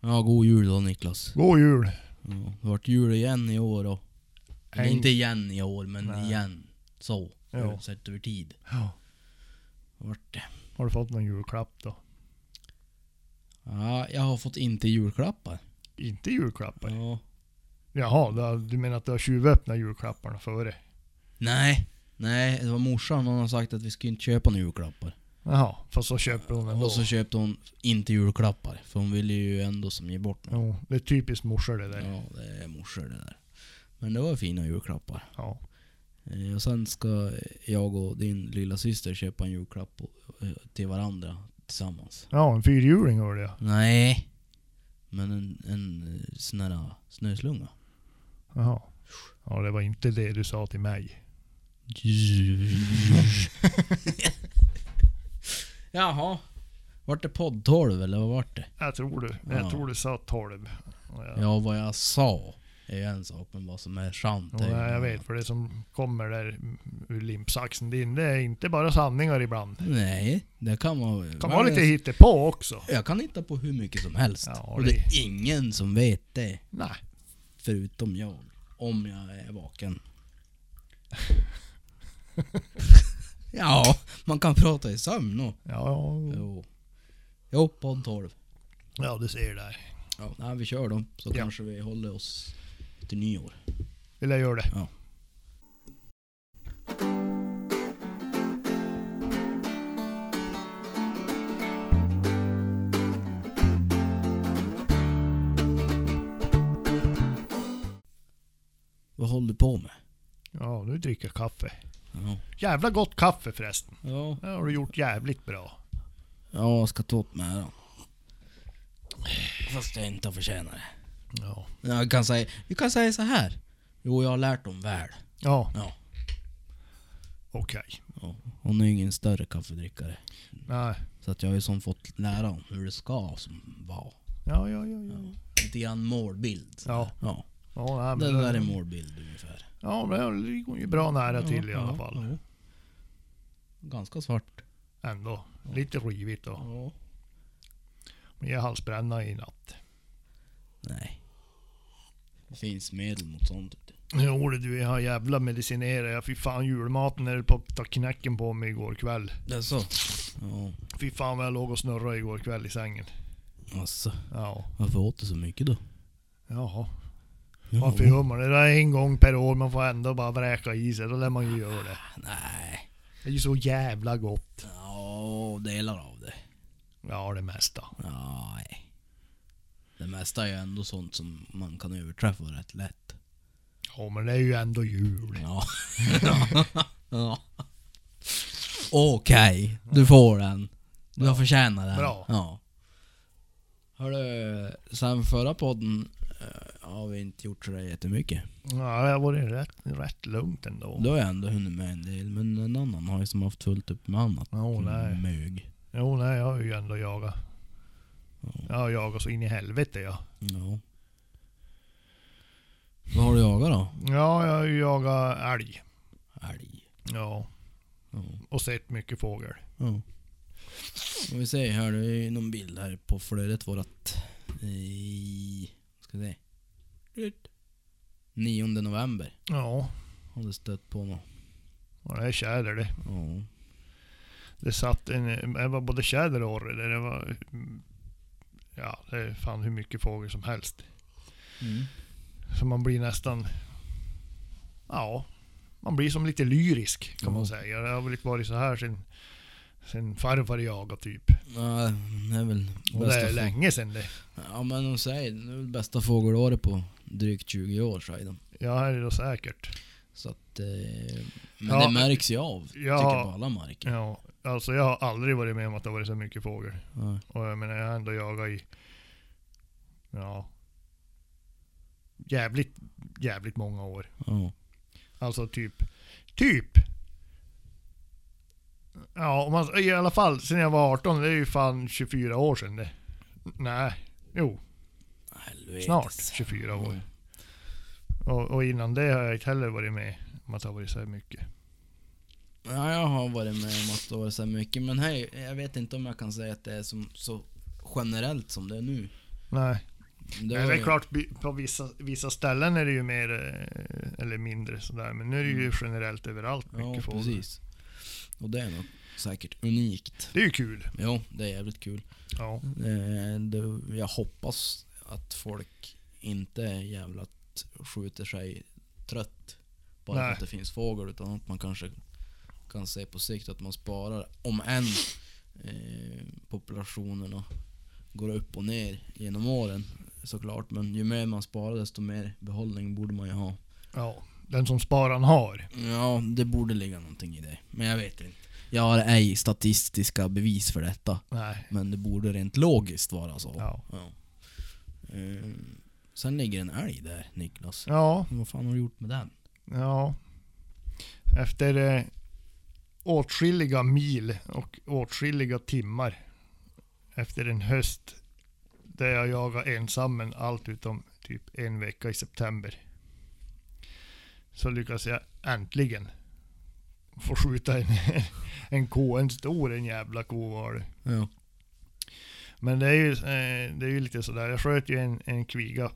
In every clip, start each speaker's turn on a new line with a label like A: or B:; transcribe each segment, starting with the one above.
A: Ja, god jul då Niklas.
B: God jul!
A: Ja, det vart jul igen i år då. Eller
B: En-
A: inte igen i år, men
B: Nej.
A: igen. Så.
B: Ja.
A: Sett över tid.
B: Ja.
A: Det Vart det.
B: Har du fått någon julklapp då?
A: Ja, jag har fått inte julklappar.
B: Inte julklappar?
A: Ja.
B: Jaha, du har- du menar att du har tjuvöppnat julklapparna före?
A: Nej. Nej, det var morsan. Hon har sagt att vi ska inte köpa några julklappar.
B: Jaha, fast så köper hon ändå.
A: Och så köpte hon inte julklappar. För hon ville ju ändå som ge bort något.
B: Jo, det är typiskt morsor det där. Ja.
A: Ja, det är morsor det där. Men det var fina julklappar. Eh, Och sen ska jag och din lilla syster köpa en julklapp och- eh, till varandra tillsammans.
B: Ja, en fyrhjuling var det ja.
A: Nej. Men en, en eh, sån här snöslunga.
B: Jaha. Ja, det var inte det du sa till mig.
A: Jaha. Vart det podd 12 eller vad vart det?
B: Jag tror du.
A: Ja.
B: Jag tror du sa 12. Ja.
A: Ja, vad jag sa är ju en sak, men vad som är sant
B: Ja,
A: är ju en
B: jag
A: annan.
B: vet, för det som kommer där ur limpsaxen din, det är inte bara sanningar ibland.
A: Nej, det kan man
B: Det kan vara lite
A: jag,
B: hittepå också.
A: jag kan hitta på hur mycket som helst.
B: Ja,
A: och det är ingen som vet det.
B: Nej.
A: Förutom jag. Om jag är vaken. ja, man kan prata i sömn och.
B: Ja,
A: Jo. Jo, podd 12.
B: ja du ser där.
A: Ja, nej, vi kör då. Så
B: Ja.
A: kanske vi håller oss till nyår.
B: Vill jag göra det?
A: Vad håller du på med?
B: Ja, nu dricker jag kaffe.
A: Ja.
B: Jävla gott kaffe förresten.
A: Ja,
B: Det har du gjort jävligt bra.
A: ja jag ska ta upp med den. Fast jag inte har förtjänat det.
B: Ja.
A: Jag kan säga, vi kan säga så här. Jo, jag har lärt dem väl.
B: Ja,
A: Ja.
B: okej.
A: ja. Hon är ju ingen större kaffedrickare.
B: Nej.
A: Så att jag har ju som fått lära om hur det ska som vara.
B: Ja, ja, ja. Ja,
A: Lite grann målbild.
B: ja.
A: Ja.
B: ja nej,
A: Det
B: men
A: där är målbild ungefär.
B: Ja, men det går ju bra nära till i alla fall.
A: ja. Ganska svart.
B: Ändå. Lite rivigt då.
A: Ja.
B: Men jag halsbränna i natt.
A: Nej. Det finns medel mot sånt. vet du.
B: Jo det du, jag har jävla medicinerat. Jag fy fan julmaten när det på ta knäcken på mig igår kväll.
A: Det är så? Ja.
B: Fy fan vad jag låg och snurrade igår kväll i sängen.
A: Alltså,
B: Ja.
A: varför åt du så mycket då?
B: Jaha.
A: Ja.
B: Varför gör man det? Det är en gång per år, man får ändå bara vräka i sig. Då lär man ju göra det.
A: Nej.
B: Det är ju så jävla gott.
A: Ja, delar av det.
B: Ja, det mesta.
A: Nej. Det mesta är ju ändå sånt som man kan överträffa rätt lätt.
B: Ja, men det är ju ändå jul.
A: Ja. ja. Okej, du får den. Du har förtjänat den.
B: Bra.
A: Ja. Hörru, sen förra podden eh, har vi inte gjort sådär jättemycket.
B: Ja, det har varit rätt, rätt lugnt ändå.
A: Då har jag ändå hunnit med en del, men en annan har ju som haft fullt upp med annat. Mm,
B: Jo, nej.
A: Mög.
B: Jo, nej, jag har ju ändå jagat. Jag har jagat så in i helvete ja.
A: Ja. Vad har du jagat då?
B: Ja, jag har ju jagat älg.
A: Älg.
B: Ja,
A: Ja.
B: och sett mycket fågel.
A: Ja. Om vi ser här, det är ju någon bild här på flödet vårat. I... Ska vi se. 9 november
B: Ja,
A: har det stött på något.
B: och det är tjäder det.
A: Ja.
B: Det satt en, det var både tjäder och orre. där. Det var, ja, det är fan hur mycket fågel som helst.
A: Mm.
B: Så man blir nästan, ja, man blir som lite lyrisk kan man
A: Ja.
B: säga. Det har väl inte varit så här sen, sen farfar jagade typ.
A: Ja, det är väl
B: Och det
A: bästa
B: är
A: få-
B: länge sen det.
A: Ja men de säger, det är väl bästa fågelåret på drygt 20 år säger de.
B: Ja, det är det då säkert.
A: Så att, eh, men
B: Ja.
A: det märks ju av,
B: Ja.
A: tycker jag, på alla marker.
B: Ja, alltså jag har aldrig varit med om att det har varit så mycket fågel.
A: Ja.
B: Och jag menar, jag har ändå jagat i... Ja... Jävligt, jävligt många år.
A: Ja.
B: Alltså typ... Typ! Ja, om man, i alla fall sen jag var 18. Det är ju fan 24 år sedan det. Nej. Jo,
A: Helvetes.
B: snart 24 år.
A: Ja.
B: Och, och innan det har jag inte heller varit med om att det har varit så här mycket.
A: Ja, jag har varit med om att det har varit så här mycket, men här, jag vet inte om jag kan säga att det är som, så generellt som det är nu.
B: Nej.
A: Det
B: Nej,
A: var
B: det är
A: ju-
B: klart, by- på vissa, vissa ställen är det ju mer eh, eller mindre sådär. Men nu är det ju generellt överallt mycket
A: Ja,
B: fågel.
A: precis. Och det är nog säkert unikt.
B: Det är ju kul.
A: Jo, det är jävligt kul.
B: Ja.
A: Eh, det- Jag hoppas att folk inte jävlat skjuter sig trött bara
B: Nej.
A: för att det finns fågel. Utan att man kanske kan se på sikt att man sparar, om än eh, populationerna går upp och ner genom åren såklart. Men ju mer man sparar desto mer behållning borde man ju ha.
B: ja. Den som sparan har.
A: Ja, det borde ligga någonting i det. Men jag vet inte. Jag har ej statistiska bevis för detta.
B: Nej.
A: Men det borde rent logiskt vara så.
B: Ja.
A: Ja. Ehm, sen ligger en älg där, Niklas.
B: Ja.
A: Vad fan har du gjort med den?
B: Ja. Efter eh, åtskilliga mil och åtskilliga timmar. Efter en höst där jag jagade ensam men allt utom typ en vecka i september. Så lyckades jag äntligen få skjuta en, en ko, en stor en jävla ko var det.
A: Ja.
B: Men det är ju, eh, det är ju lite sådär, jag sköt ju en, en kviga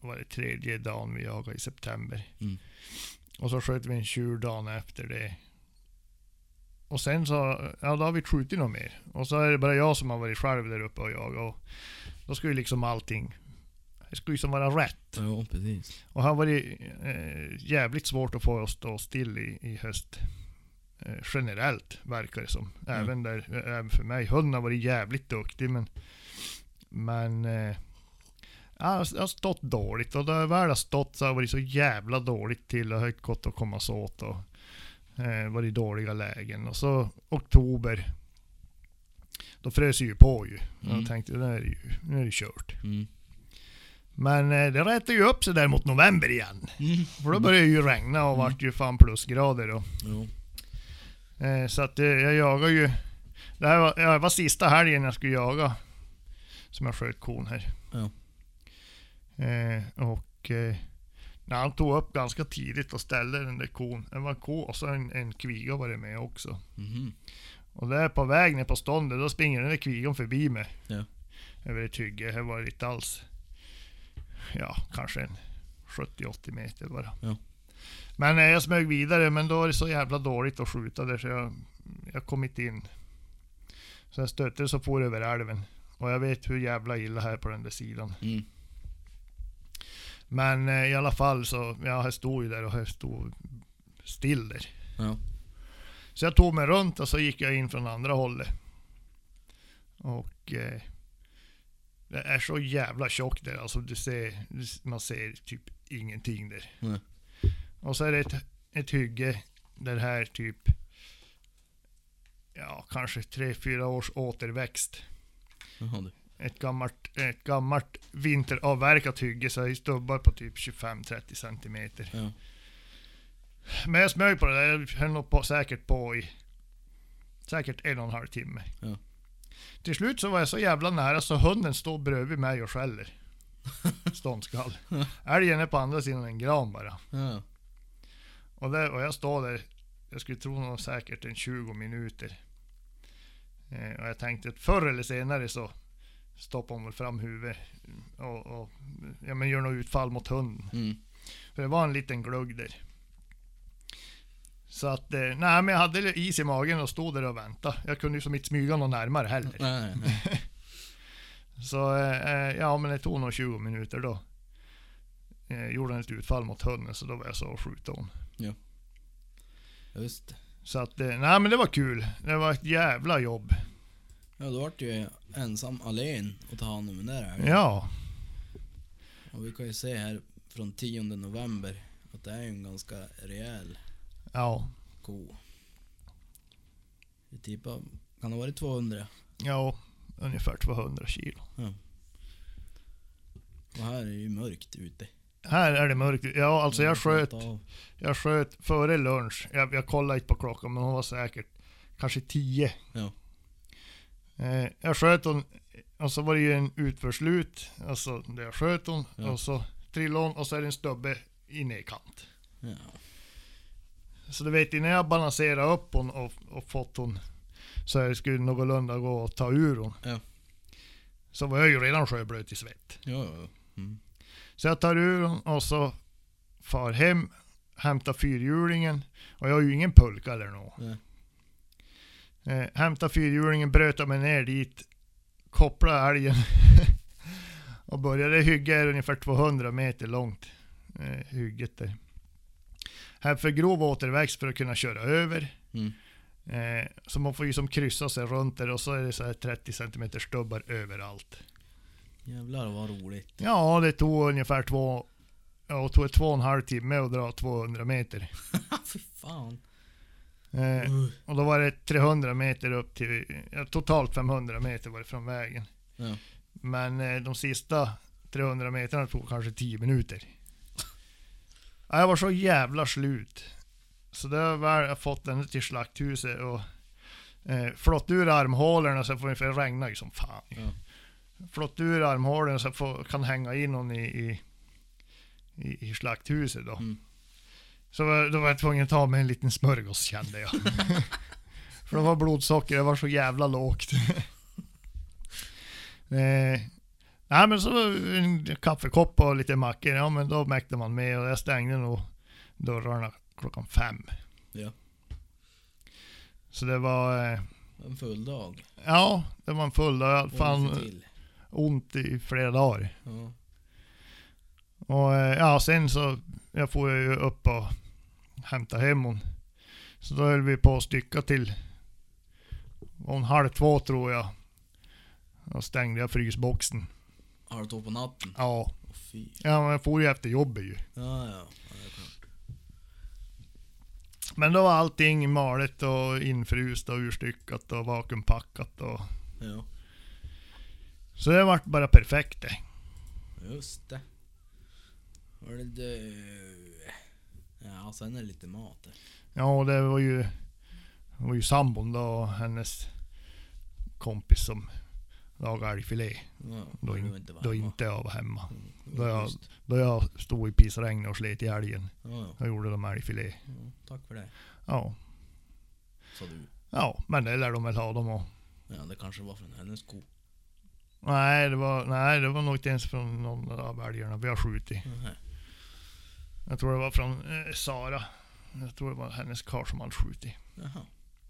B: var det tredje dagen vi jagade i september.
A: Mm.
B: Och så sköt vi en tjur dagen efter det. Och sen så, ja då har vi inte skjutit något mer. Och så är det bara jag som har varit själv där uppe och jagat. Och då ska ju liksom allting, det ska ju som vara rätt.
A: Ja, precis.
B: Och här var det eh, jävligt svårt att få oss att stå still i, i höst. Eh, generellt verkar det som. Även, där, eh, även för mig. Hunden har varit jävligt duktig men... Men... Eh, jag, har, jag har stått dåligt och när jag väl har stått så har jag varit så jävla dåligt till och högt gott att komma så åt och eh, varit i dåliga lägen. Och så oktober. Då frös det ju på ju.
A: Mm.
B: Jag tänkte nu är det ju nu är det kört.
A: Mm.
B: Men eh, det rätade ju upp sig där mot november igen.
A: Mm.
B: För då började det ju regna och vart ju fan plusgrader då.
A: Jo.
B: Eh, så att eh, jag jagar ju... Det här var, ja, det var sista helgen jag skulle jaga. Som jag sköt kon här.
A: Ja.
B: Eh, och... Eh, när han tog upp ganska tidigt och ställde den där kon. Det var en ko och så en, en kviga var det med också.
A: Mhm.
B: Och där på väg ner på ståndet, då springer den där kvigan förbi mig.
A: Ja.
B: Över ett hygge. Det var inte alls... Ja, kanske en 70-80 meter bara.
A: Ja.
B: Men eh, jag smög vidare, men då är det så jävla dåligt att skjuta där så jag, jag kom inte in. Så jag stötte så for över älven. Och jag vet hur jävla illa här på den där sidan.
A: Mm.
B: Men eh, i alla fall så, ja, jag stod ju där och jag stod still där.
A: Ja.
B: Så jag tog mig runt och så gick jag in från andra hållet. Och eh, det är så jävla tjockt där. Alltså du ser, du- man ser typ ingenting där.
A: Nej.
B: Och så är det ett, ett hygge där här typ ja, kanske tre fyra års återväxt.
A: Jaha du.
B: Ett gammalt, ett gammalt vinteravverkat hygge så det är stubbar på typ 25-30 centimeter.
A: Ja.
B: Men jag smög på det där, jag höll nog på, säkert på i säkert en och en halv timme.
A: Ja.
B: Till slut så var jag så jävla nära så hunden står bredvid mig och skäller. Ståndskall. Älgen är på andra sidan en gran bara.
A: Ja.
B: Och, där, och jag står där, jag skulle tro nog säkert en 20 minuter. Eh, och jag tänkte att förr eller senare så stoppar hon väl fram huvudet och, och ja, men gör något utfall mot hunden.
A: Mm.
B: För det var en liten glugg där. Så att, eh, nej men jag hade is i magen och stod där och väntade. Jag kunde ju som inte smyga någon närmare heller.
A: Nej, nej, nej.
B: Så eh, eh, ja, men det tog nog 20 minuter då. Eh, gjorde han ett utfall mot hunden så då var jag så och skjuta hon.
A: Just det.
B: Så att, eh, nej men det var kul. Det var ett jävla jobb.
A: Ja, då vart ju jag ensam allén att ta hand om den där älgen.
B: Ja,
A: Och vi kan ju se här från 10 november att det är ju en ganska rejäl
B: ja,
A: ko. Vi tippar, kan det ha varit 200?
B: ja. Ungefär 200 kilo.
A: Och här är det ju mörkt ute.
B: Här är det mörkt. Ja, alltså jag sköt
A: av.
B: Jag sköt före lunch. Jag, jag kollade inte på klockan men hon var säkert kanske tio.
A: Ja.
B: Eh, jag sköt hon och så var det ju en utförslut. Alltså där jag sköt hon
A: Ja.
B: och så trillade hon och så är det en stubbe i nedkant.
A: Ja.
B: Så du vet innan jag balanserade upp hon och, och fått hon så här skulle det någorlunda gå att ta ur hon.
A: Ja.
B: så var jag ju redan sjöblöt i svett.
A: Ja, ja, ja. Mm.
B: Så jag tar ur den och så far hem, hämtar fyrhjulingen och jag har ju ingen pulka eller nå.
A: Nej.
B: Eh, hämtar fyrhjulingen, bröt jag mig ner dit, kopplade älgen och började hygga är ungefär 200 meter långt. Eh, hygget där. Här för grov återväxt för att kunna köra över.
A: Mm.
B: Eh, så man får ju som kryssa sig runt där och så är det så här 30 cm stubbar överallt.
A: Jävlar vad roligt.
B: Ja, det tog ungefär två, ja, det tog två och en halv timme att dra 200 meter.
A: Ah, Fy fan.
B: Eh,
A: Uh.
B: och då var det 300 meter upp till, ja, totalt 500 meter var det från vägen.
A: Ja.
B: Men eh, de sista 300 meterna tog kanske 10 minuter. Ja, Jag var så jävla slut. Så då har jag väl fått den till slakthuset och eh, flått ur armhålorna så jag får för det regnar ju som fan.
A: Ja.
B: Flått ur armhålorna så jag får, kan hänga in någon i, i, i, i slakthuset då.
A: Mm.
B: Så var- då var jag tvungen att ta mig en liten smörgås kände jag. För det var blodsocker, det var så jävla lågt. eh, nej men så en kaffekopp och lite mackor, ja men då mäktade man med och jag stängde nog dörrarna klockan fem.
A: Ja.
B: Så det var, eh,
A: En full dag.
B: ja det var en full dag, jag hade
A: Och
B: fan
A: lite till.
B: ont i flera dagar.
A: Ja.
B: Och eh, ja, sen så jag får ju upp och hämta hem hon. Så då höll vi på att stycka till om halv två tror jag. Då stängde jag frysboxen.
A: Har du två på natten?
B: Ja,
A: Åh fy.
B: ja men jag får ju efter jobbet ju.
A: Ja, ja. ja det är klart.
B: Men då var allting malet och infryst och urstyckat och vakuumpackat och
A: ja.
B: så det vart bara perfekt eh. det.
A: Just det. Och det du... Ja, sen är det lite mat där.
B: Ja, och det var ju, det var ju sambon då och hennes kompis som lagade älgfilé.
A: Ja,
B: Då
A: det
B: in-
A: var inte varma.
B: Då inte jag var hemma.
A: Mm,
B: då jag-
A: just.
B: Då jag stod i pissregn och slet i älgen.
A: Ja, ja.
B: Jag gjorde de älgfilé.
A: ja, tack för det.
B: Ja.
A: Sa du.
B: Ja, men det lär de väl ha dem och.
A: Ja, det kanske var från hennes ko.
B: Nej, det var, nej, det var nog inte ens från någon av älgarna vi har skjutit.
A: Nähä.
B: Jag tror det var från eh, Sara. Jag tror det var hennes karl som hade skjutit.
A: Jaha.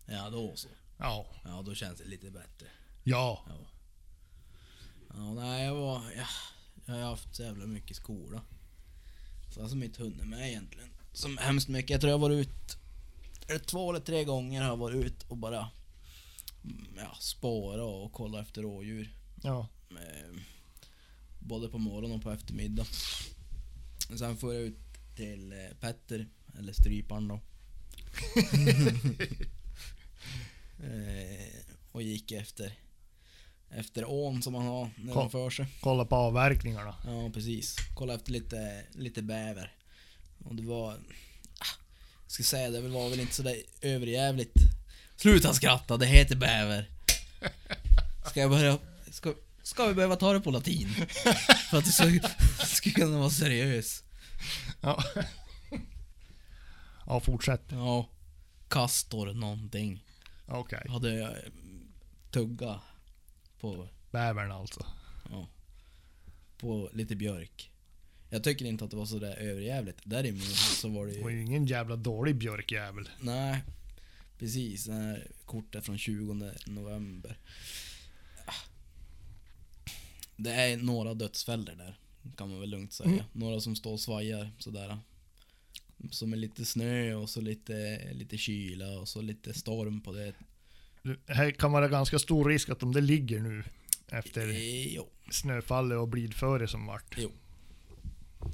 A: Ja, då så.
B: Ja.
A: Ja, då känns det lite bättre.
B: Ja.
A: Ja. Ja, nej, jag var... Ja, jag har haft så jävla mycket skola. Så jag har som inte hunnit med egentligen. Som hemskt mycket. Jag tror jag har varit ut... Eller två eller tre gånger har jag varit ut och bara... mm, Ja, spåra och kolla efter rådjur.
B: Ja.
A: Eh, Både på morgonen och på eftermiddag. Sen får jag ut till eh, Petter, eller stryparen då. Eh, och gick efter efter ån som han har nedanför sig.
B: Kolla på avverkningarna.
A: Ja, precis. Kolla efter lite, lite bäver. Och det var... ah, Jag ska säga, det var väl inte sådär överjävligt. Sluta skratta, det heter bäver. Ska jag börja... Ska, ska vi behöva ta det på latin? För att du ska, ska kunna vara seriös.
B: Ja. ja, fortsätt.
A: Ja. Kastor någonting.
B: Okej.
A: Jag hade jag eh, tugga på...
B: Bävern alltså.
A: Ja. På lite björk. Jag tycker inte att det var sådär överjävligt. Däremot så var det
B: Det
A: ju...
B: var ju ingen jävla dålig björkjävel.
A: Nej, precis. Det här kortet från 20 november. Ah. Det är några dödsfällor där, kan man väl lugnt säga.
B: Mm.
A: Några som står och svajar sådär. Som är lite snö och så lite, lite kyla och så lite storm på det.
B: Det här kan vara ganska stor risk att om det ligger nu efter
A: Eh, Jo.
B: snöfallet och blidföre som vart.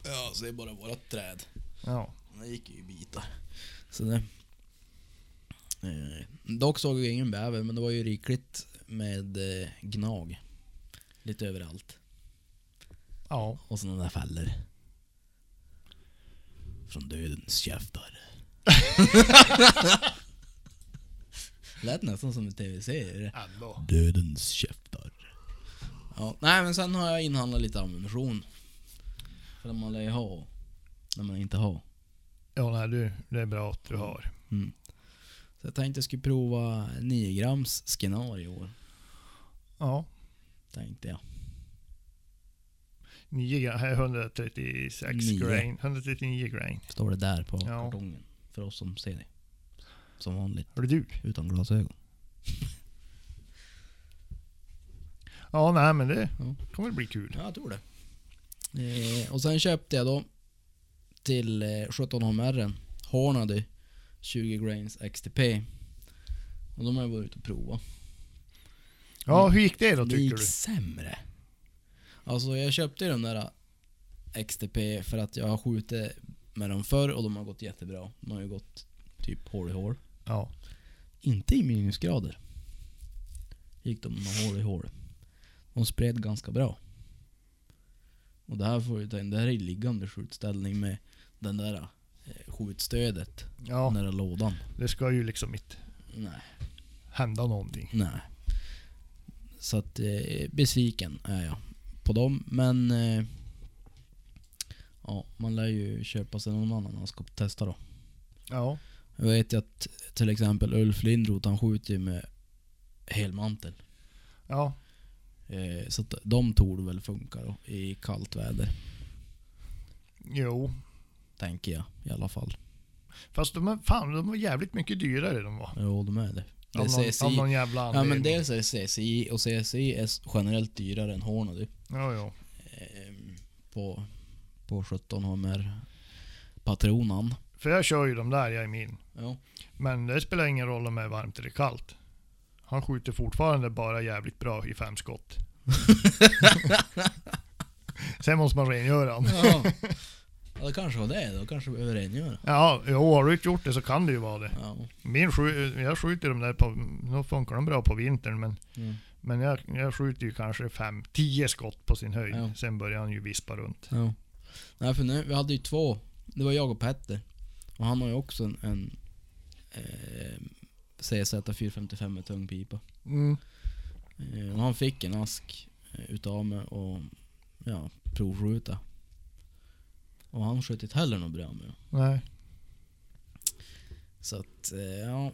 A: Ja, så det är bara vårat träd.
B: Ja.
A: Det gick ju i bitar. Så det. Eh, dock såg jag ingen bäver, men det var ju rikligt med eh, gnag. Lite överallt.
B: Ja.
A: Och så där fällor. Från dödens käftar. Lät nästan som en tv-serie.
B: Ändå.
A: Dödens käftar. Ja, nej men sen har jag inhandlat lite ammunition. För det man lär ju ha. När man inte har.
B: Ja, nej, du, det är bra att du
A: Mm.
B: har.
A: Så jag tänkte jag skulle prova 9 grams skenar i år.
B: Ja.
A: Tänkte jag.
B: 9 gra- här är 136
A: Nio.
B: grain. 139 grain.
A: Står det där på
B: Ja.
A: kartongen. För oss som ser det. Som vanligt.
B: Hör du?
A: Utan glasögon.
B: Ja, nej men det
A: Ja.
B: kommer bli kul.
A: Ja, jag tror det. Eh, och sen köpte jag då till eh, 17HMR Hornady 20 grains XTP. Och de har jag varit ute och provat.
B: Ja, hur gick det då
A: Det
B: tycker
A: gick
B: du?
A: sämre. Alltså jag köpte ju den där XTP för att jag har skjutit med dem förr och de har gått jättebra. De har ju gått typ hål i hål.
B: Ja.
A: Inte i minusgrader. Gick de med hål i hål. De spred ganska bra. Och det här får ju ta in, det här är liggande skjutställning med den där eh, skjutstödet
B: ja,
A: nära lådan.
B: det ska ju liksom inte
A: Nej,
B: hända någonting.
A: nej. Så att eh, besviken är jag på dem. Men eh, ja, man lär ju köpa sig någon annan man ska testa då.
B: Ja,
A: Jag vet ju att till exempel Ulf Lindroth han skjuter ju med helmantel.
B: ja,
A: Eh, så att de tror det väl funkar då, i kallt väder,
B: jo.
A: tänker jag i alla fall.
B: Fast de, är, fan, de var jävligt mycket dyrare de var.
A: Jo, de är det. Det
B: Av
A: är
B: någon, av
A: CSI.
B: någon jävla
A: Ja, men
B: anledning.
A: dels är det CSI och CSI är s- generellt dyrare än Hornady.
B: Ja, ja.
A: Ehm, på, på 17 hummer patronan.
B: För jag kör ju de där, jag är min.
A: Ja.
B: Men det spelar ingen roll om det är varmt eller kallt. Han skjuter fortfarande bara jävligt bra i fem skott. Sen måste man rengöra honom.
A: ja. Ja, det kanske var det då. Kanske behöver rengöra.
B: Ja, jo, har du inte gjort det så kan det ju vara det.
A: Ja.
B: Min skj- jag skjuter de där på, nu funkar de bra på vintern men,
A: Mm.
B: men jag, jag skjuter ju kanske fem, tio skott på sin höjd.
A: Ja.
B: Sen börjar han ju vispa runt.
A: Ja. Nej, för nu, vi hade ju två. Det var jag och Petter. Och han har ju också en, en eh, CZ 455 med tung pipa.
B: Mm.
A: Eh, och han fick en ask eh, utav mig och ja, provskjuta. Och han sköt inte heller något bra med den.
B: Nej.
A: Så att, eh, ja.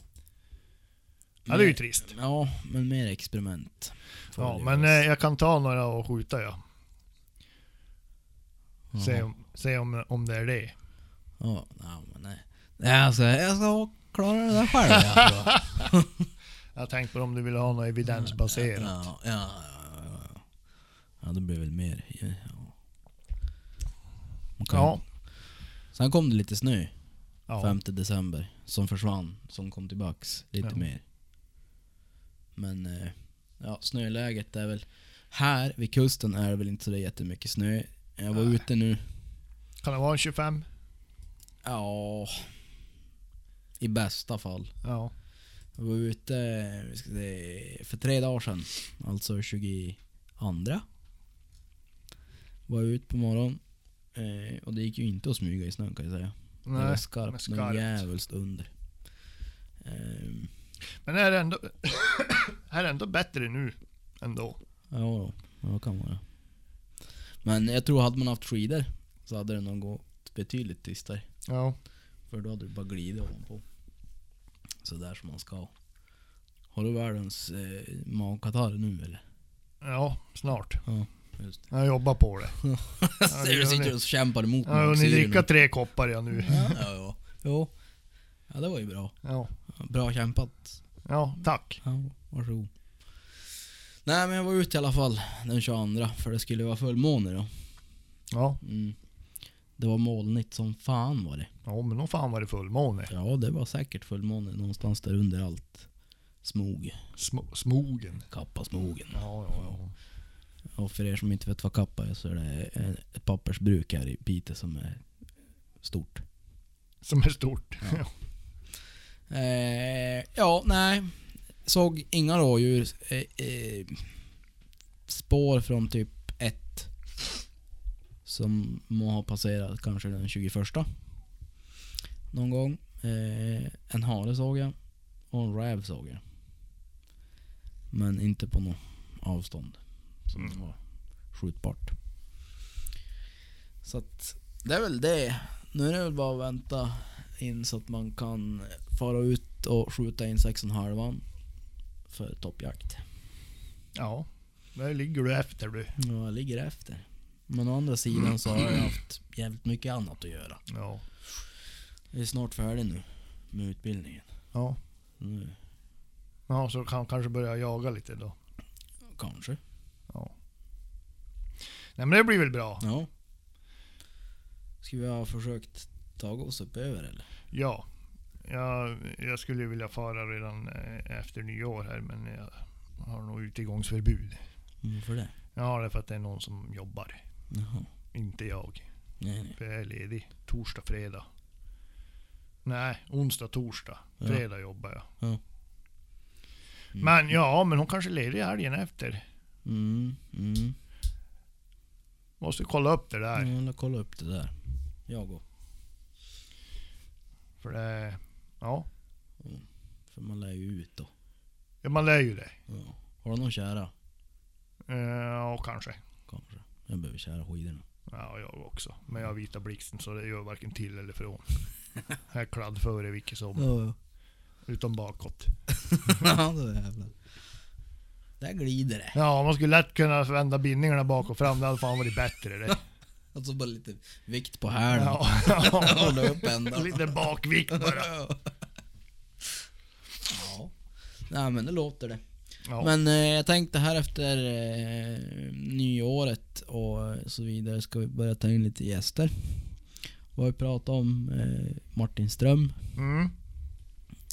B: Ja, det är ju trist.
A: Ja, men mer experiment. får
B: Ja,
A: det
B: men eh,
A: göras.
B: jag kan ta några och skjuta ja.
A: Ja.
B: eh, Se, om, se om, om det är det.
A: Ja, nej, men nej. nej. Alltså, jag ska klara det där själv. Jag tror.
B: Jag tänkte på om du vill ha något evidensbaserat.
A: Ja, ja, ja, ja. ja det blir väl mer. Ja. Man kan-
B: Ja,
A: Sen kom det lite snö
B: ja.
A: 5 december som försvann, som kom tillbaks lite
B: Ja.
A: mer. Men eh, ja, snöläget är väl... Här vid kusten är det väl inte så där jättemycket snö. Jag var
B: Nej.
A: ute nu,
B: Kan det vara en 25?
A: ja... I bästa fall.
B: Ja.
A: Jag var ute vi ska se, för tre dagar sedan, alltså 22. Var jag ute på morgonen eh, och det gick ju inte att smyga i snön kan jag säga. det var
B: Nej. men
A: skarpt,
B: skarpt.
A: skarpt. djävulskt under. Ehm,
B: Men är det ändå, är det ändå bättre nu ändå?
A: Ja, ja, det kan vara. Men jag tror hade man haft skidor så hade det nog gått betydligt tystare.
B: Ja.
A: För då hade du bara glidit ovanpå. Så där som man ska. Har du världens eh, magkatarr nu eller?
B: Ja, snart.
A: Just det.
B: Jag jobbar på det.
A: Ser du sitter och kämpar emot
B: Jag har hunnit
A: magsyren.
B: dricka tre koppar jag nu.
A: Ja, ja, ja. Jo. Ja, det var ju bra.
B: Ja.
A: Bra kämpat.
B: ja, tack.
A: Ja, varsågod. Nej men jag var ute i alla fall den 22 för det skulle vara fullmåne då.
B: Ja,
A: Mm. Det var molnigt som fan var det.
B: ja men nog fan var det fullmåne.
A: Ja, det var säkert fullmåne någonstans där under allt. Smog.
B: Sm- smogen.
A: Kappasmogen.
B: Ja, ja,
A: Och för er som inte vet vad kappa är så är det eh, ett pappersbruk här i Piteå som är stort.
B: Som är stort. Ja.
A: Eh, ja, nej. Såg inga rådjur. Eh, eh, spår från typ ett. Som må ha passerat kanske den 21. Någon gång. Eh, en hare såg jag. Och en räv såg jag. Men inte på något avstånd. Som
B: Mm.
A: var skjutbart. Så att det är väl det. Nu är det väl bara att vänta in så att man kan fara ut och skjuta in 6,5 för toppjakt.
B: ja. Där ligger du efter du.
A: Mm. Ja, jag ligger efter. Men å andra sidan så har jag haft jävligt mycket annat att göra.
B: Ja.
A: Jag är snart färdig nu med utbildningen.
B: Ja.
A: Nu,
B: ja, så kan kanske börja jaga lite då.
A: kanske.
B: Ja. Nej men det blir väl bra.
A: Ja. Ska vi ha försökt ta oss upp över eller?
B: Ja. Jag, jag skulle ju vilja fara redan eh, efter nyår här men jag har nog utegångsförbud.
A: Varför det?
B: Ja, det är för att det är någon som jobbar.
A: Jaha.
B: Inte jag.
A: Nej, nej.
B: För jag är ledig. Torsdag, fredag. Nej, onsdag, torsdag.
A: Ja.
B: Fredag jobbar jag.
A: Mm.
B: Men ja, men hon kanske är ledig helgen efter.
A: Mm, mm.
B: Måste kolla upp det där.
A: Ja, kolla upp det där. Jag går.
B: För det... Ja.
A: För man lär ju ut då.
B: ja, man lär ju det.
A: Ja. Har du någon kära?
B: Eh, Ja, kanske.
A: Kanske. Jag behöver kära skidorna.
B: Ja, jag också. Men jag har vita blixten så det gör varken till eller från. Jag är kladd före vilket som.
A: Ja,
B: Utom bakåt.
A: ja. då jävlar. Där glider det.
B: Ja, man skulle lätt kunna vända bindningarna bak och fram. Det hade fan varit bättre det.
A: Och så Alltså bara lite vikt på hälen.
B: Ja.
A: Hålla upp ändan.
B: Lite bakvikt bara.
A: Ja. Nej men det låter det.
B: Ja.
A: Men eh, jag tänkte här efter eh, nyåret och så vidare ska vi börja ta in lite gäster. Vi har ju pratat om eh, Martin Ström,
B: Mm.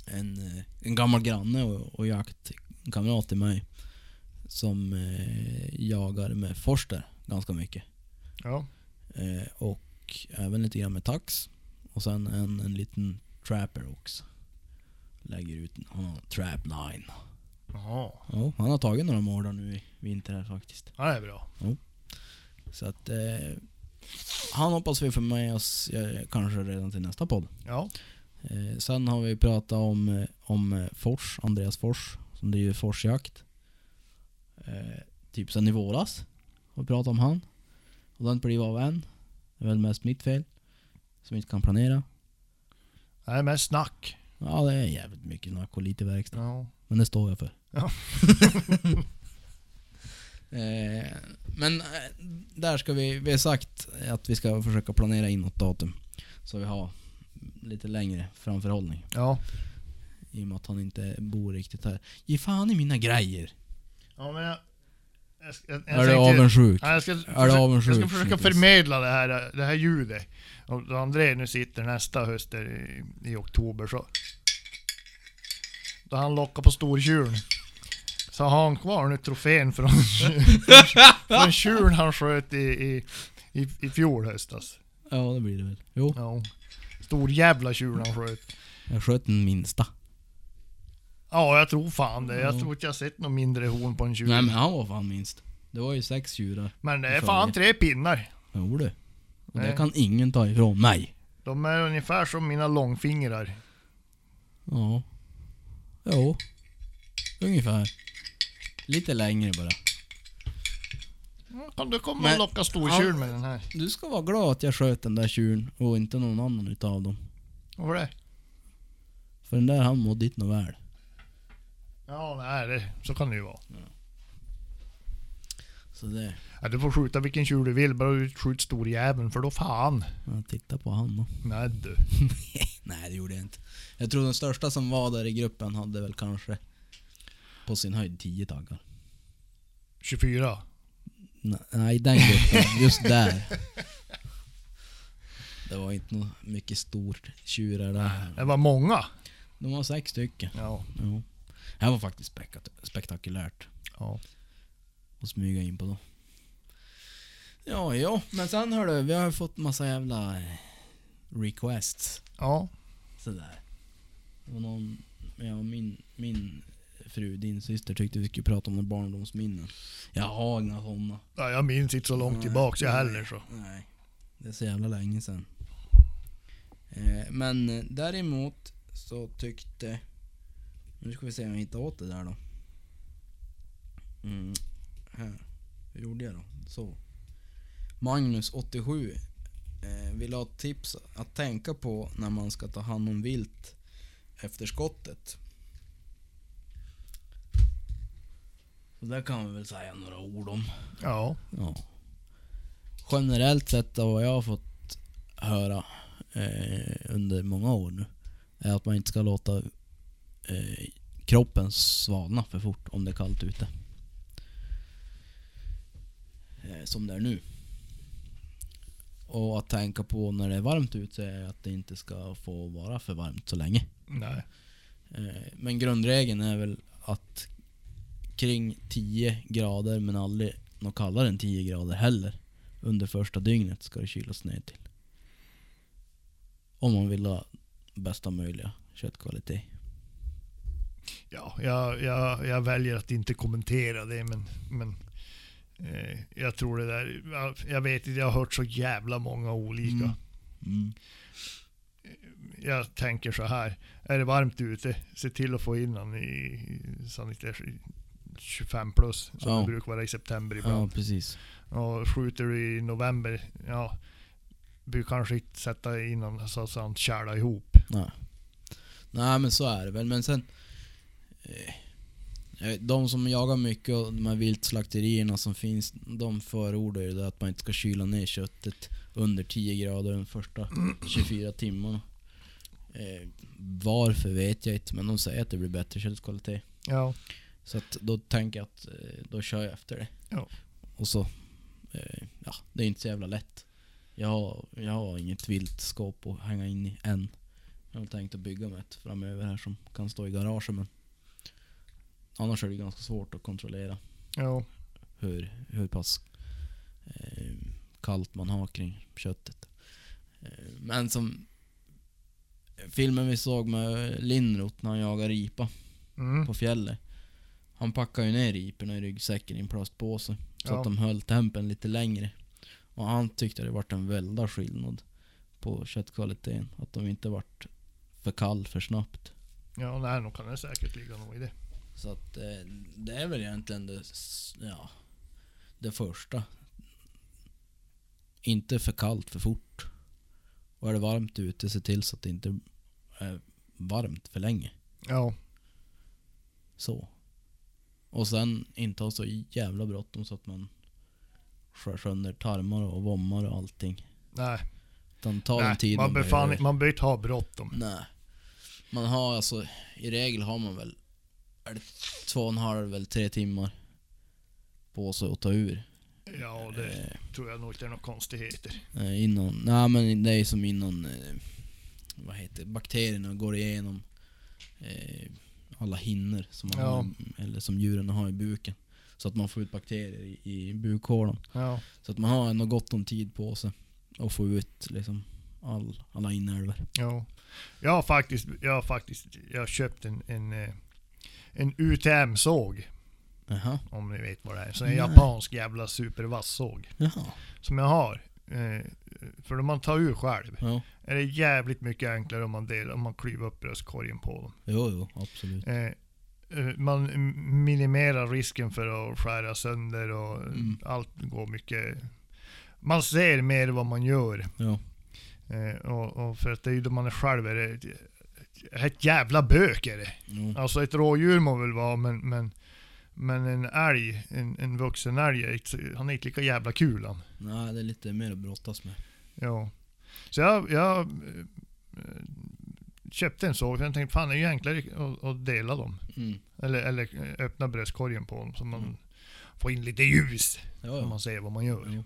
A: en, eh, en gammal granne och, och jaktkamrat till mig. Som eh, jagar med forster ganska mycket.
B: Ja.
A: Eh, och även lite grann med tax. Och sen en, en liten trapper också. Lägger ut en han har en trap 9.
B: Jaha.
A: Ja, han har tagit några mårdar nu i vinter här faktiskt.
B: Ja, det är bra.
A: Så att eh, han hoppas vi får med oss eh, kanske redan till nästa podd.
B: Ja.
A: Eh, sen har vi pratat om, eh, om eh, Fors, Andreas Fors, som driver Forsjakt. Eh, typ sen i våras har vi pratat om han. Och den blev av en. Det är väl mest mitt fel. Som inte kan planera.
B: Det är mest snack.
A: Ja, det är jävligt mycket snack och lite verkstad.
B: Ja.
A: Men det står jag för.
B: Ja.
A: eh, men eh, där ska vi, vi har sagt att vi ska försöka planera in något datum. Så vi har lite längre framförhållning.
B: Ja.
A: I och med att han inte bor riktigt här. Ge fan i mina grejer!
B: ja men jag, jag, ska- jag,
A: är du
B: tänkte-
A: avundsjuk?
B: Ja, jag, ska,
A: Är du avundsjuk,
B: jag ska försöka
A: Niklas?
B: förmedla det här, det här ljudet. Och då André nu sitter nästa höst där i, i oktober så... Då han lockar på stortjuren. Så har han kvar nu trofén från, från tjuren han sköt i, i, i, i fjol höstas.
A: Ja, det blir det väl. Jo,
B: Ja. Stor jävla tjuren han sköt.
A: jag sköt den minsta.
B: Ja, jag tror fan det. Jag
A: Ja.
B: tror inte jag har sett något mindre horn på en tjur.
A: Nej men han var fan minst. Det var ju sex tjurar.
B: Men det är
A: Fan,
B: fan
A: det-
B: tre pinnar.
A: Jo du. Och det
B: Nej.
A: kan ingen ta ifrån mig.
B: De är ungefär som mina långfingrar.
A: Ja. Jo. Ungefär. Lite längre bara.
B: Ja, Kan du komma
A: Men-
B: och locka stortjur
A: Ja.
B: med den här?
A: Du ska vara glad att jag sköt den där tjuren och inte någon annan utav dem.
B: Varför det?
A: För den där han mådde inte något väl.
B: Ja, nej, det, så kan det ju vara.
A: Så det...
B: Ja, du får skjuta vilken tjur du vill, bara du skjuter storjäveln för då fan.
A: Jag tittade på han då.
B: Nej du.
A: Nej det gjorde jag inte. Jag tror den största som var där i gruppen hade väl kanske på sin höjd 10 taggar.
B: 24.
A: Nej, Nej, den gruppen. Just där. Det var inte något mycket stort tjurar där.
B: Det var många.
A: De var sex stycken.
B: Ja.
A: Jo. Det här var faktiskt spek- spektakulärt
B: Ja.
A: att smyga in på då. Ja, ja. Men sen hör du, vi har ju fått massa jävla eh, requests.
B: Ja.
A: Sådär. Och någon, ja, min, min fru, din syster tyckte vi skulle prata om några barndomsminnen. Jag har inga sådana.
B: ja jag minns inte så långt tillbaks jag heller så.
A: Nej, det är så jävla länge sedan. Eh, men eh, däremot så tyckte... Nu ska vi se om jag hittar åt det där då. Mm, här. Hur gjorde jag då? Så. Magnus, 87, eh, vill ha ett tips att tänka på när man ska ta hand om vilt efter skottet. Så där kan vi väl säga några ord om.
B: Ja.
A: Ja. generellt sett av vad jag har fått höra eh, under många år nu är att man inte ska låta eh, kroppen svalna för fort om det är kallt ute. Eh, som det är nu. Och att tänka på när det är varmt ute är att det inte ska få vara för varmt så länge.
B: Nej.
A: Eh, Men grundregeln är väl att kring 10 grader men aldrig något kallare än 10 grader heller. Under första dygnet ska det kylas ner till. Om man vill ha bästa möjliga köttkvalitet.
B: Ja, jag, jag, jag väljer att inte kommentera det men, men eh, jag tror det där, jag- jag vet inte, jag har hört så jävla många olika.
A: Mm. Mm.
B: Jag tänker så här, är det varmt ute, se till att få in den i i sanitation 25 plus som
A: Ja.
B: det brukar vara i september
A: Ja,
B: ibland.
A: precis.
B: Och skjuter du i november, ja, du kanske inte sätta in någon så att han tjälar ihop.
A: Nej. Nej men så är det väl. Men sen... eh, jag vet, De som jagar mycket och de här viltslakterierna som finns, de förordar ju det att man inte ska kyla ner köttet under 10 grader de första 24 timmarna. Eh, varför vet jag inte, men de säger att det blir bättre köttkvalitet.
B: Ja,
A: Så att då tänker jag att eh, då kör jag efter det.
B: Ja.
A: Och så, eh, ja, det är inte så jävla lätt. Jag har, jag har inget vilt skåp att hänga in i än. Jag har tänkt att bygga med ett framöver här som kan stå i garaget men Annars är det ganska svårt att kontrollera
B: ja,
A: hur, hur pass eh, kallt man har kring köttet. Eh, men som filmen vi såg med Lindroth när han jagar ripa
B: mm,
A: på fjället. Han packade ju ner riporna i ryggsäcken i en plastpåse. Så
B: Ja.
A: att de höll tempen lite längre. Och han tyckte det vart en väldig skillnad på köttkvaliteten. Att de inte vart för kall för snabbt.
B: ja, nej, nog kan det säkert ligga något i det.
A: Så att eh, det är väl egentligen det, s- ja, det första. Inte för kallt för fort. Och är det varmt ute, se till så att det inte är varmt för länge.
B: Ja,
A: Så. Och sen inte ha så jävla bråttom så att man skär sönder tarmar och vommar och allting.
B: nej,
A: Utan ta den
B: nej
A: tid
B: man, befann,
A: behöver.
B: man bör inte ha bråttom.
A: Nej. Man har alltså, i regel har man väl, är det två och en halv eller tre timmar på sig att ta ur.
B: Ja, det
A: Eh,
B: tror jag nog inte är några konstigheter.
A: Eh, innan, nej men det är som innan, eh, vad heter det, bakterierna går igenom eh, alla hinnor som, man
B: Ja.
A: har, eller som djuren har i buken. Så att man får ut bakterier i, i bukhålan.
B: Ja,
A: Så att man har ändå gott om tid på sig att få ut liksom all, alla inälvor.
B: ja. Jag har faktiskt, jag har faktiskt, jag har köpt en, en, eh, en UTM-såg.
A: Jaha.
B: Om ni vet vad det är. Så en
A: Nej.
B: japansk jävla supervass såg.
A: Jaha.
B: Som jag har. Eh, för om man tar ur själv.
A: Ja.
B: är det jävligt mycket enklare om man, delar, om man klyver upp bröstkorgen på dem.
A: Jo, jo, absolut.
B: Eh, eh, man m- minimerar risken för att skära sönder och eh,
A: Mm.
B: allt går mycket... Man ser mer vad man gör.
A: Ja.
B: Eh, och, och för att det är ju då man är själv är det ett- ett jävla bök är det.
A: Jo.
B: Alltså ett rådjur må väl vara men, men, men en älg, en, en vuxen älg, är inte- han är inte lika jävla kul han.
A: Nej, det är lite mer att brottas med.
B: Ja. Så jag, jag eh, köpte en såg, för jag tänkte fan det är ju enklare att, att dela dem.
A: Mm.
B: Eller, eller eh, öppna bröstkorgen på dem så man
A: Mm.
B: får in lite ljus.
A: Ja,
B: Så
A: ja.
B: man ser vad man gör.
A: Jo.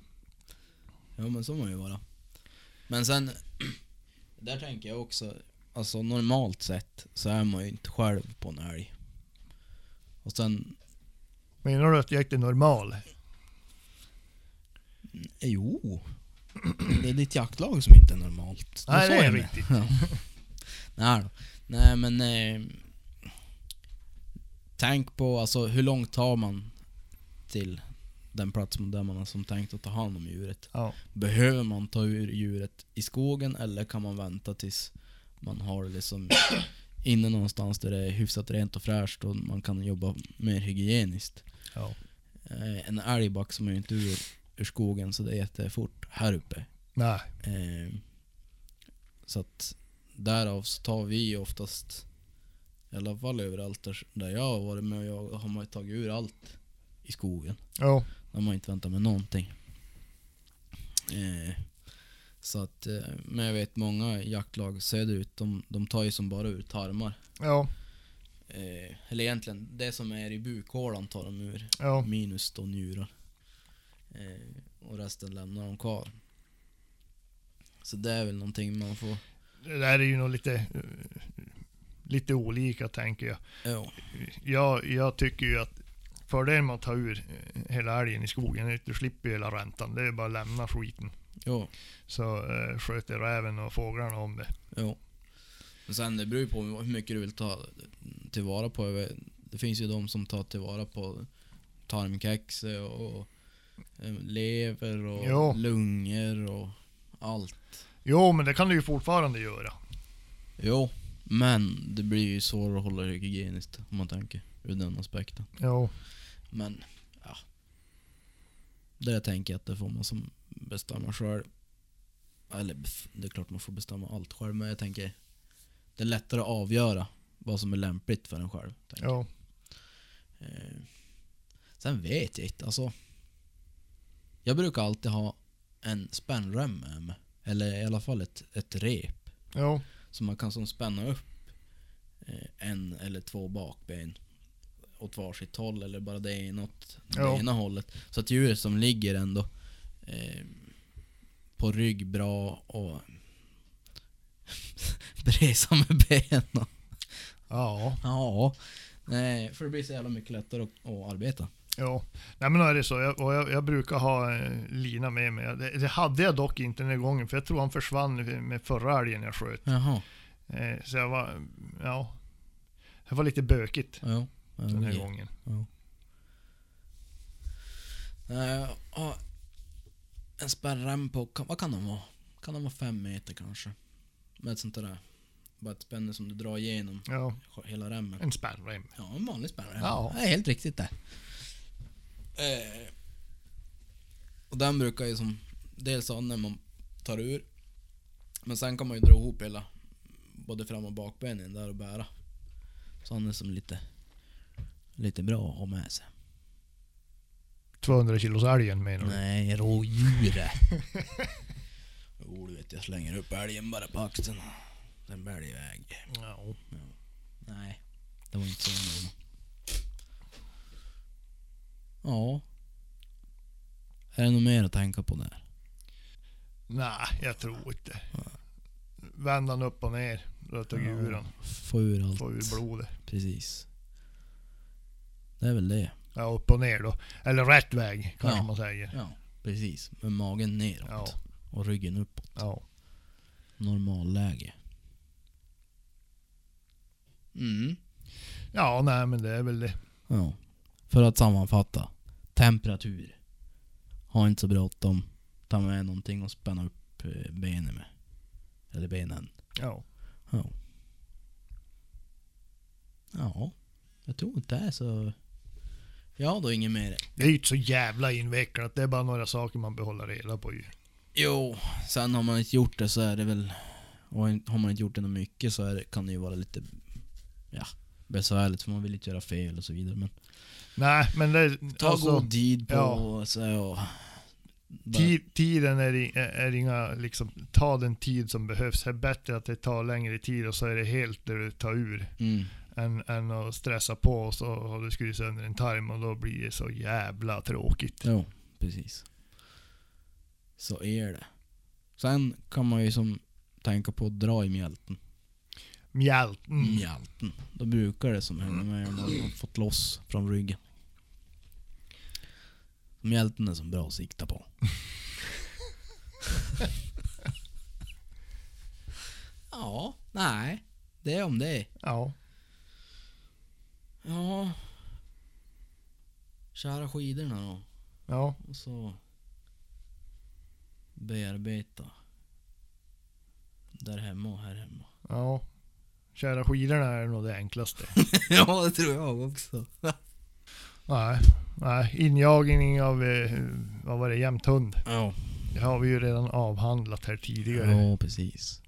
A: Ja men så må det ju vara. Men sen, där tänker jag också, alltså normalt sett så är man ju inte själv på en älg. Och sen,
B: Menar du att jag inte är normal?
A: eh, jo. Det är ditt jaktlag som inte är normalt.
B: Nej,
A: sa
B: det är
A: jag
B: riktigt.
A: Ja. Nej då. Nej men... Eh, tänk på alltså hur långt tar man till den plats där man har som tänkt att ta hand om djuret.
B: Ja.
A: Behöver man ta ur djuret i skogen eller kan man vänta tills man har det liksom inne någonstans där det är hyfsat rent och fräscht och man kan jobba mer hygieniskt?
B: ja.
A: Eh, en älgback som är ju inte ur, ur skogen så det är jättefort här uppe.
B: Nej.
A: Eh, så att därav så tar vi oftast, i alla fall överallt där, där jag har varit med och jag har man ju tagit ur allt i skogen.
B: Ja.
A: När man inte väntar med någonting. Eh, så att, eh, men jag vet många jaktlag söderut, de, de tar ju som bara ut tarmar.
B: Ja,
A: Eh, eller egentligen, det som är i bukhålan tar de ur.
B: ja,
A: Minus då njurar. Eh, och resten lämnar de kvar. Så det är väl någonting man får...
B: det där är ju nog lite, eh, lite olika tänker jag.
A: Ja.
B: jag. Jag tycker ju att fördelen med att ta ur eh, hela älgen i skogen är att du slipper ju hela räntan. Det är bara att lämna skiten.
A: Ja.
B: Så eh, sköter räven och fåglarna om det.
A: Jo. Men sen det beror ju på hur mycket du vill ta tillvara på. Jag vet- Det finns ju de som tar tillvara på tarmkexe och eh, lever och
B: Ja.
A: lungor och allt.
B: Jo, men det kan du ju fortfarande göra.
A: Jo, men det blir ju svårare att hålla det hygieniskt om man tänker ur den aspekten.
B: Jo,
A: Men, ja. Det där tänker jag att det får man som bestämma själv. Eller bef- det är klart man får bestämma allt själv, men jag tänker det är lättare att avgöra vad som är lämpligt för en själv. tänker jag.
B: jo.
A: Eh, Sen vet jag inte, alltså. Jag brukar alltid ha en spännrem med mig. Eller i alla fall ett, ett rep.
B: Jo,
A: Så man kan som spänna upp eh, en eller två bakben åt varsitt håll eller bara det ena åt det
B: Ja.
A: ena hållet. Så att djuret som ligger ändå eh, på rygg bra och bresa med benen.
B: ja,
A: Ja. Nej, för det blir så jävla mycket lättare att, att arbeta.
B: jo. Nej men då är det så. Jag, och jag, jag brukar ha eh, lina med mig. Det, det hade jag dock inte den här gången, för jag tror han försvann med förra älgen jag sköt.
A: Jaha.
B: Eh, så jag var, ja. Det var lite bökigt
A: Ja. ja,
B: den här
A: det-
B: gången.
A: Nej, jag har Eh, en spärrrem på, kan- vad kan de vara? Kan de vara fem meter kanske? Med ett sånt där, bara ett spänne som du drar igenom
B: Ja,
A: hela remmen.
B: en spärrrem.
A: Ja, en vanlig spärrrem.
B: Ja.
A: Det är helt riktigt det. Eh, och den brukar ju som, dels ha när man tar ur, men sen kan man ju dra ihop hela, både fram och bakbenen där och bära. Så han är som lite, lite bra att ha med sig.
B: 200 kilos älgen menar du?
A: Nej, rådjuret. jo, du vet jag slänger upp älgen bara på axeln. Den bär iväg.
B: Ja.
A: Nej, det var inte så noga. Ja. Är det något mer att tänka på där?
B: Nej, jag tror inte. Vänd han upp och ner. Då tog jag ur han.
A: Få ur allt.
B: Få ur blodet.
A: Precis. Det är väl det.
B: Ja, upp och ner då. Eller rätt väg kanske
A: Ja.
B: man säger.
A: Ja, precis. Med magen neråt.
B: Ja.
A: Och ryggen uppåt.
B: Ja.
A: Normalläge. Mm.
B: Ja, nej men det är väl det.
A: Ja. För att sammanfatta. Temperatur. Ha inte så bråttom. Ta med någonting och spänna upp eh, benen med. Eller benen.
B: Ja.
A: Ja. Ja. Jag tror inte det är så... Jag har då inget mer.
B: Det är ju inte så jävla invecklat. Det är bara några saker man behåller reda på ju.
A: Jo, sen har man inte gjort det så är det väl... Och har man inte gjort det något mycket så är det, kan det ju vara lite... Ja, besvärligt för man vill inte göra fel och så vidare. Men
B: Nej, men det... alltså,
A: ta god tid på
B: ja.
A: sig och... bara-
B: Ti- Tiden är, i- är inga, liksom, ta den tid som behövs. Det är bättre att det tar längre tid och så är det helt där du tar ur.
A: Mm.
B: Än, än att stressa på och så har du skurit sönder en tarm och då blir det så jävla tråkigt.
A: Jo, precis. Så är det. Sen kan man ju som tänka på att dra i mjälten.
B: Mjälten.
A: Mm. Mjälten. Då brukar det som hänga med om man har fått loss från ryggen. Mjälten är som bra att sikta på. ja, nej. Det är om det.
B: Ja.
A: Ja. Kära skidorna då.
B: Ja.
A: Och så bearbeta. Där hemma och här hemma.
B: Ja. Köra skidorna är nog det enklaste.
A: ja, det tror jag också.
B: nej. Nej. Injagning av, eh, vad var det, jämthund.
A: Ja,
B: Det har vi ju redan avhandlat här tidigare.
A: ja precis.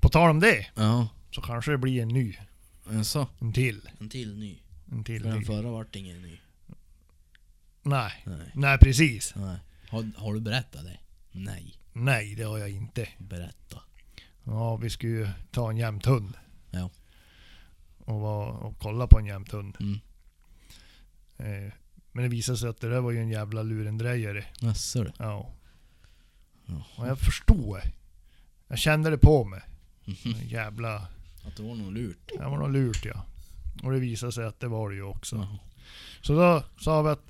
B: På tal om det,
A: Ja,
B: så kanske det blir en ny.
A: jaså?
B: En till.
A: En till ny.
B: En till.
A: För den
B: till.
A: förra vart ingen ny.
B: Nej.
A: Nej.
B: Nej, precis.
A: Nej. Har, har du berättat det? Nej,
B: Nej, det har jag inte.
A: berätta.
B: Ja, vi skulle ju ta en jämthund.
A: Ja.
B: Och, var, och kolla på en jämthund.
A: Mm.
B: Eh, men det visade sig att det där var ju en jävla lurendrejare.
A: Jaså du?
B: Ja.
A: Ja.
B: Och jag förstod det. Jag kände det på mig.
A: Mhm.
B: Jävla...
A: Att det var något lurt.
B: Det var nog lurt ja. Och det visade sig att det var det ju också.
A: Jaha.
B: Så då sa vi att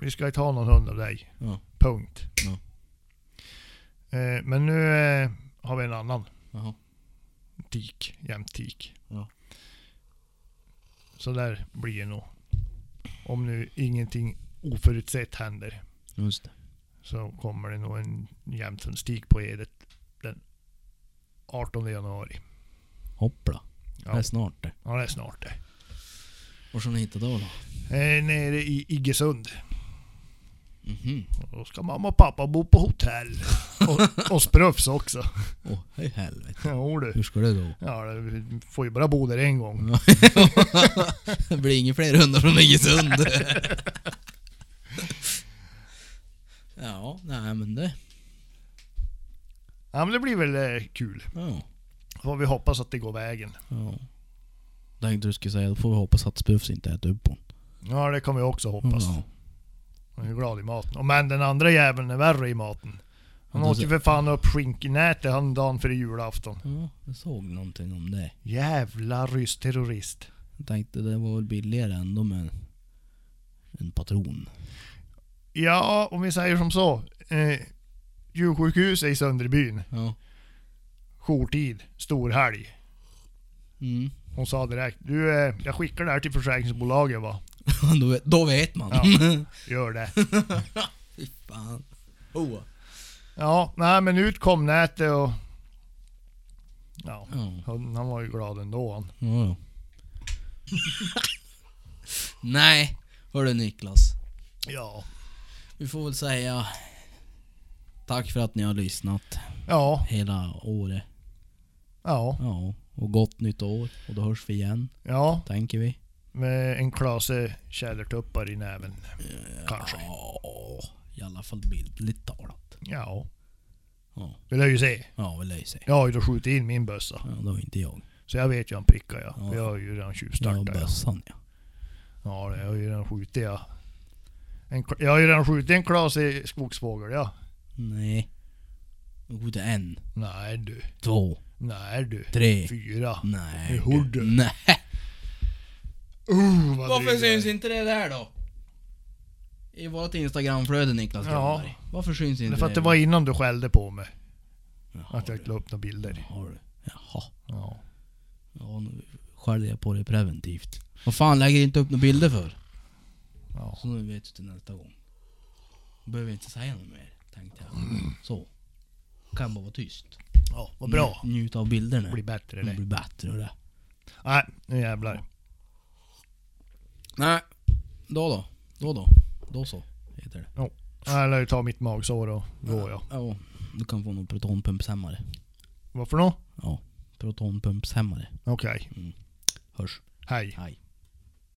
B: vi ska inte ha någon hund av dig.
A: Ja.
B: Punkt.
A: Ja.
B: Eh, men nu eh, har vi en annan
A: Jaha.
B: tik, jämt tik.
A: Ja.
B: Så där blir det nog. Om nu ingenting oförutsett händer
A: Just det.
B: så kommer det nog en jämthundstik på Edet den 18 januari.
A: Hoppla.
B: Ja.
A: Det är snart det.
B: Ja, det är snart det.
A: Var ska ni hitta då då?
B: Eh, nere i Iggesund.
A: Mhm.
B: Och Då ska mamma och pappa bo på hotell. Och, och spröfs också.
A: Åh, hej helvete.
B: Jo du.
A: Hur ska det då?
B: Ja, du får ju bara bo där en gång.
A: det blir inga fler hundar från Iggesund. ja, nej men det...
B: Ja men det blir väl eh, kul.
A: Ja.
B: Får vi hoppas att det går vägen.
A: ja. Tänkte du skulle säga, då får vi hoppas att Spufs inte äter upp hon.
B: Ja det kommer jag också hoppas.
A: Ja.
B: Han är glad i maten. Och men den andra jäveln är värre i maten. Han
A: Ja,
B: åt
A: det-
B: ju för fan upp skinkenätet han dagen före julafton.
A: ja, jag såg någonting om det.
B: Jävla rysk terrorist.
A: Jag tänkte det var väl billigare ändå med en patron.
B: Ja, om vi säger som så. Eh, djursjukhuset i Sunderbyn.
A: Ja.
B: Jourtid. Storhelg.
A: Mm.
B: Hon sa direkt. Du, eh, jag skickar det här till försäkringsbolaget va.
A: då, vet, då vet man.
B: Ja. Gör det.
A: Fy fan. Oh.
B: Ja, nej men ut kom nätet och... Ja.
A: Ja.
B: Han, han var ju glad ändå han.
A: Ja, ja. Nej, hörru Niklas.
B: Ja.
A: Vi får väl säga tack för att ni har lyssnat
B: Ja.
A: hela året.
B: Ja.
A: Ja, och gott nytt år. Och då hörs vi igen,
B: Ja.
A: tänker vi.
B: Med en klase tjädertuppar i näven. Kanske.
A: Ja, i alla fall bildligt talat.
B: Ja.
A: Ja,
B: Det lär ju se.
A: ja väl det sig.
B: Jag har ju då skjutit in min bössa.
A: Ja, det var inte jag.
B: Så jag vet ju han prickar jag.
A: Ja.
B: För Jag har ju redan
A: Det var
B: tjuvstartat. Ja,
A: bössan ja.
B: ja, det har ju redan skjutit jag. En, kla- jag har ju redan skjutit en klase skogsfågel ja.
A: Nej. Jo, det är en,
B: Nej du.
A: två,
B: Nej du.
A: tre.
B: Fyra.
A: Nej.
B: Det hörde.
A: Nej.
B: Uh, vad
A: Varför
B: dryg jag är.
A: syns inte det där då? I vårt instagramflöde Niklas
B: Ja.
A: Granberg. Varför syns
B: Det
A: inte
B: är för att det var innan du skällde på mig.
A: Jaha,
B: Att jag inte la upp några bilder.
A: Har du? Jaha.
B: Ja.
A: Ja, nu skäller jag på dig preventivt. Vad fan lägger du inte upp några bilder för?
B: Ja.
A: Så nu vet du till nästa gång. Då behöver jag inte säga något mer, tänkte jag. Så. Kan bara vara tyst.
B: ja. Vad bra.
A: Nj- Njut av bilderna.
B: Det blir bättre
A: Det
B: det.
A: blir bättre och det.
B: Nej, nu jävlar.
A: Nej. Då då. Då då. Då så. Heter det.
B: Nej, Jag lär ju ta mitt magsår och gå ja.
A: Ja. Du kan få någon protonpumpshämmare.
B: Varför då?
A: Ja. Protonpumpshämmare.
B: Okej,
A: Hörs.
B: hej.
A: Hej.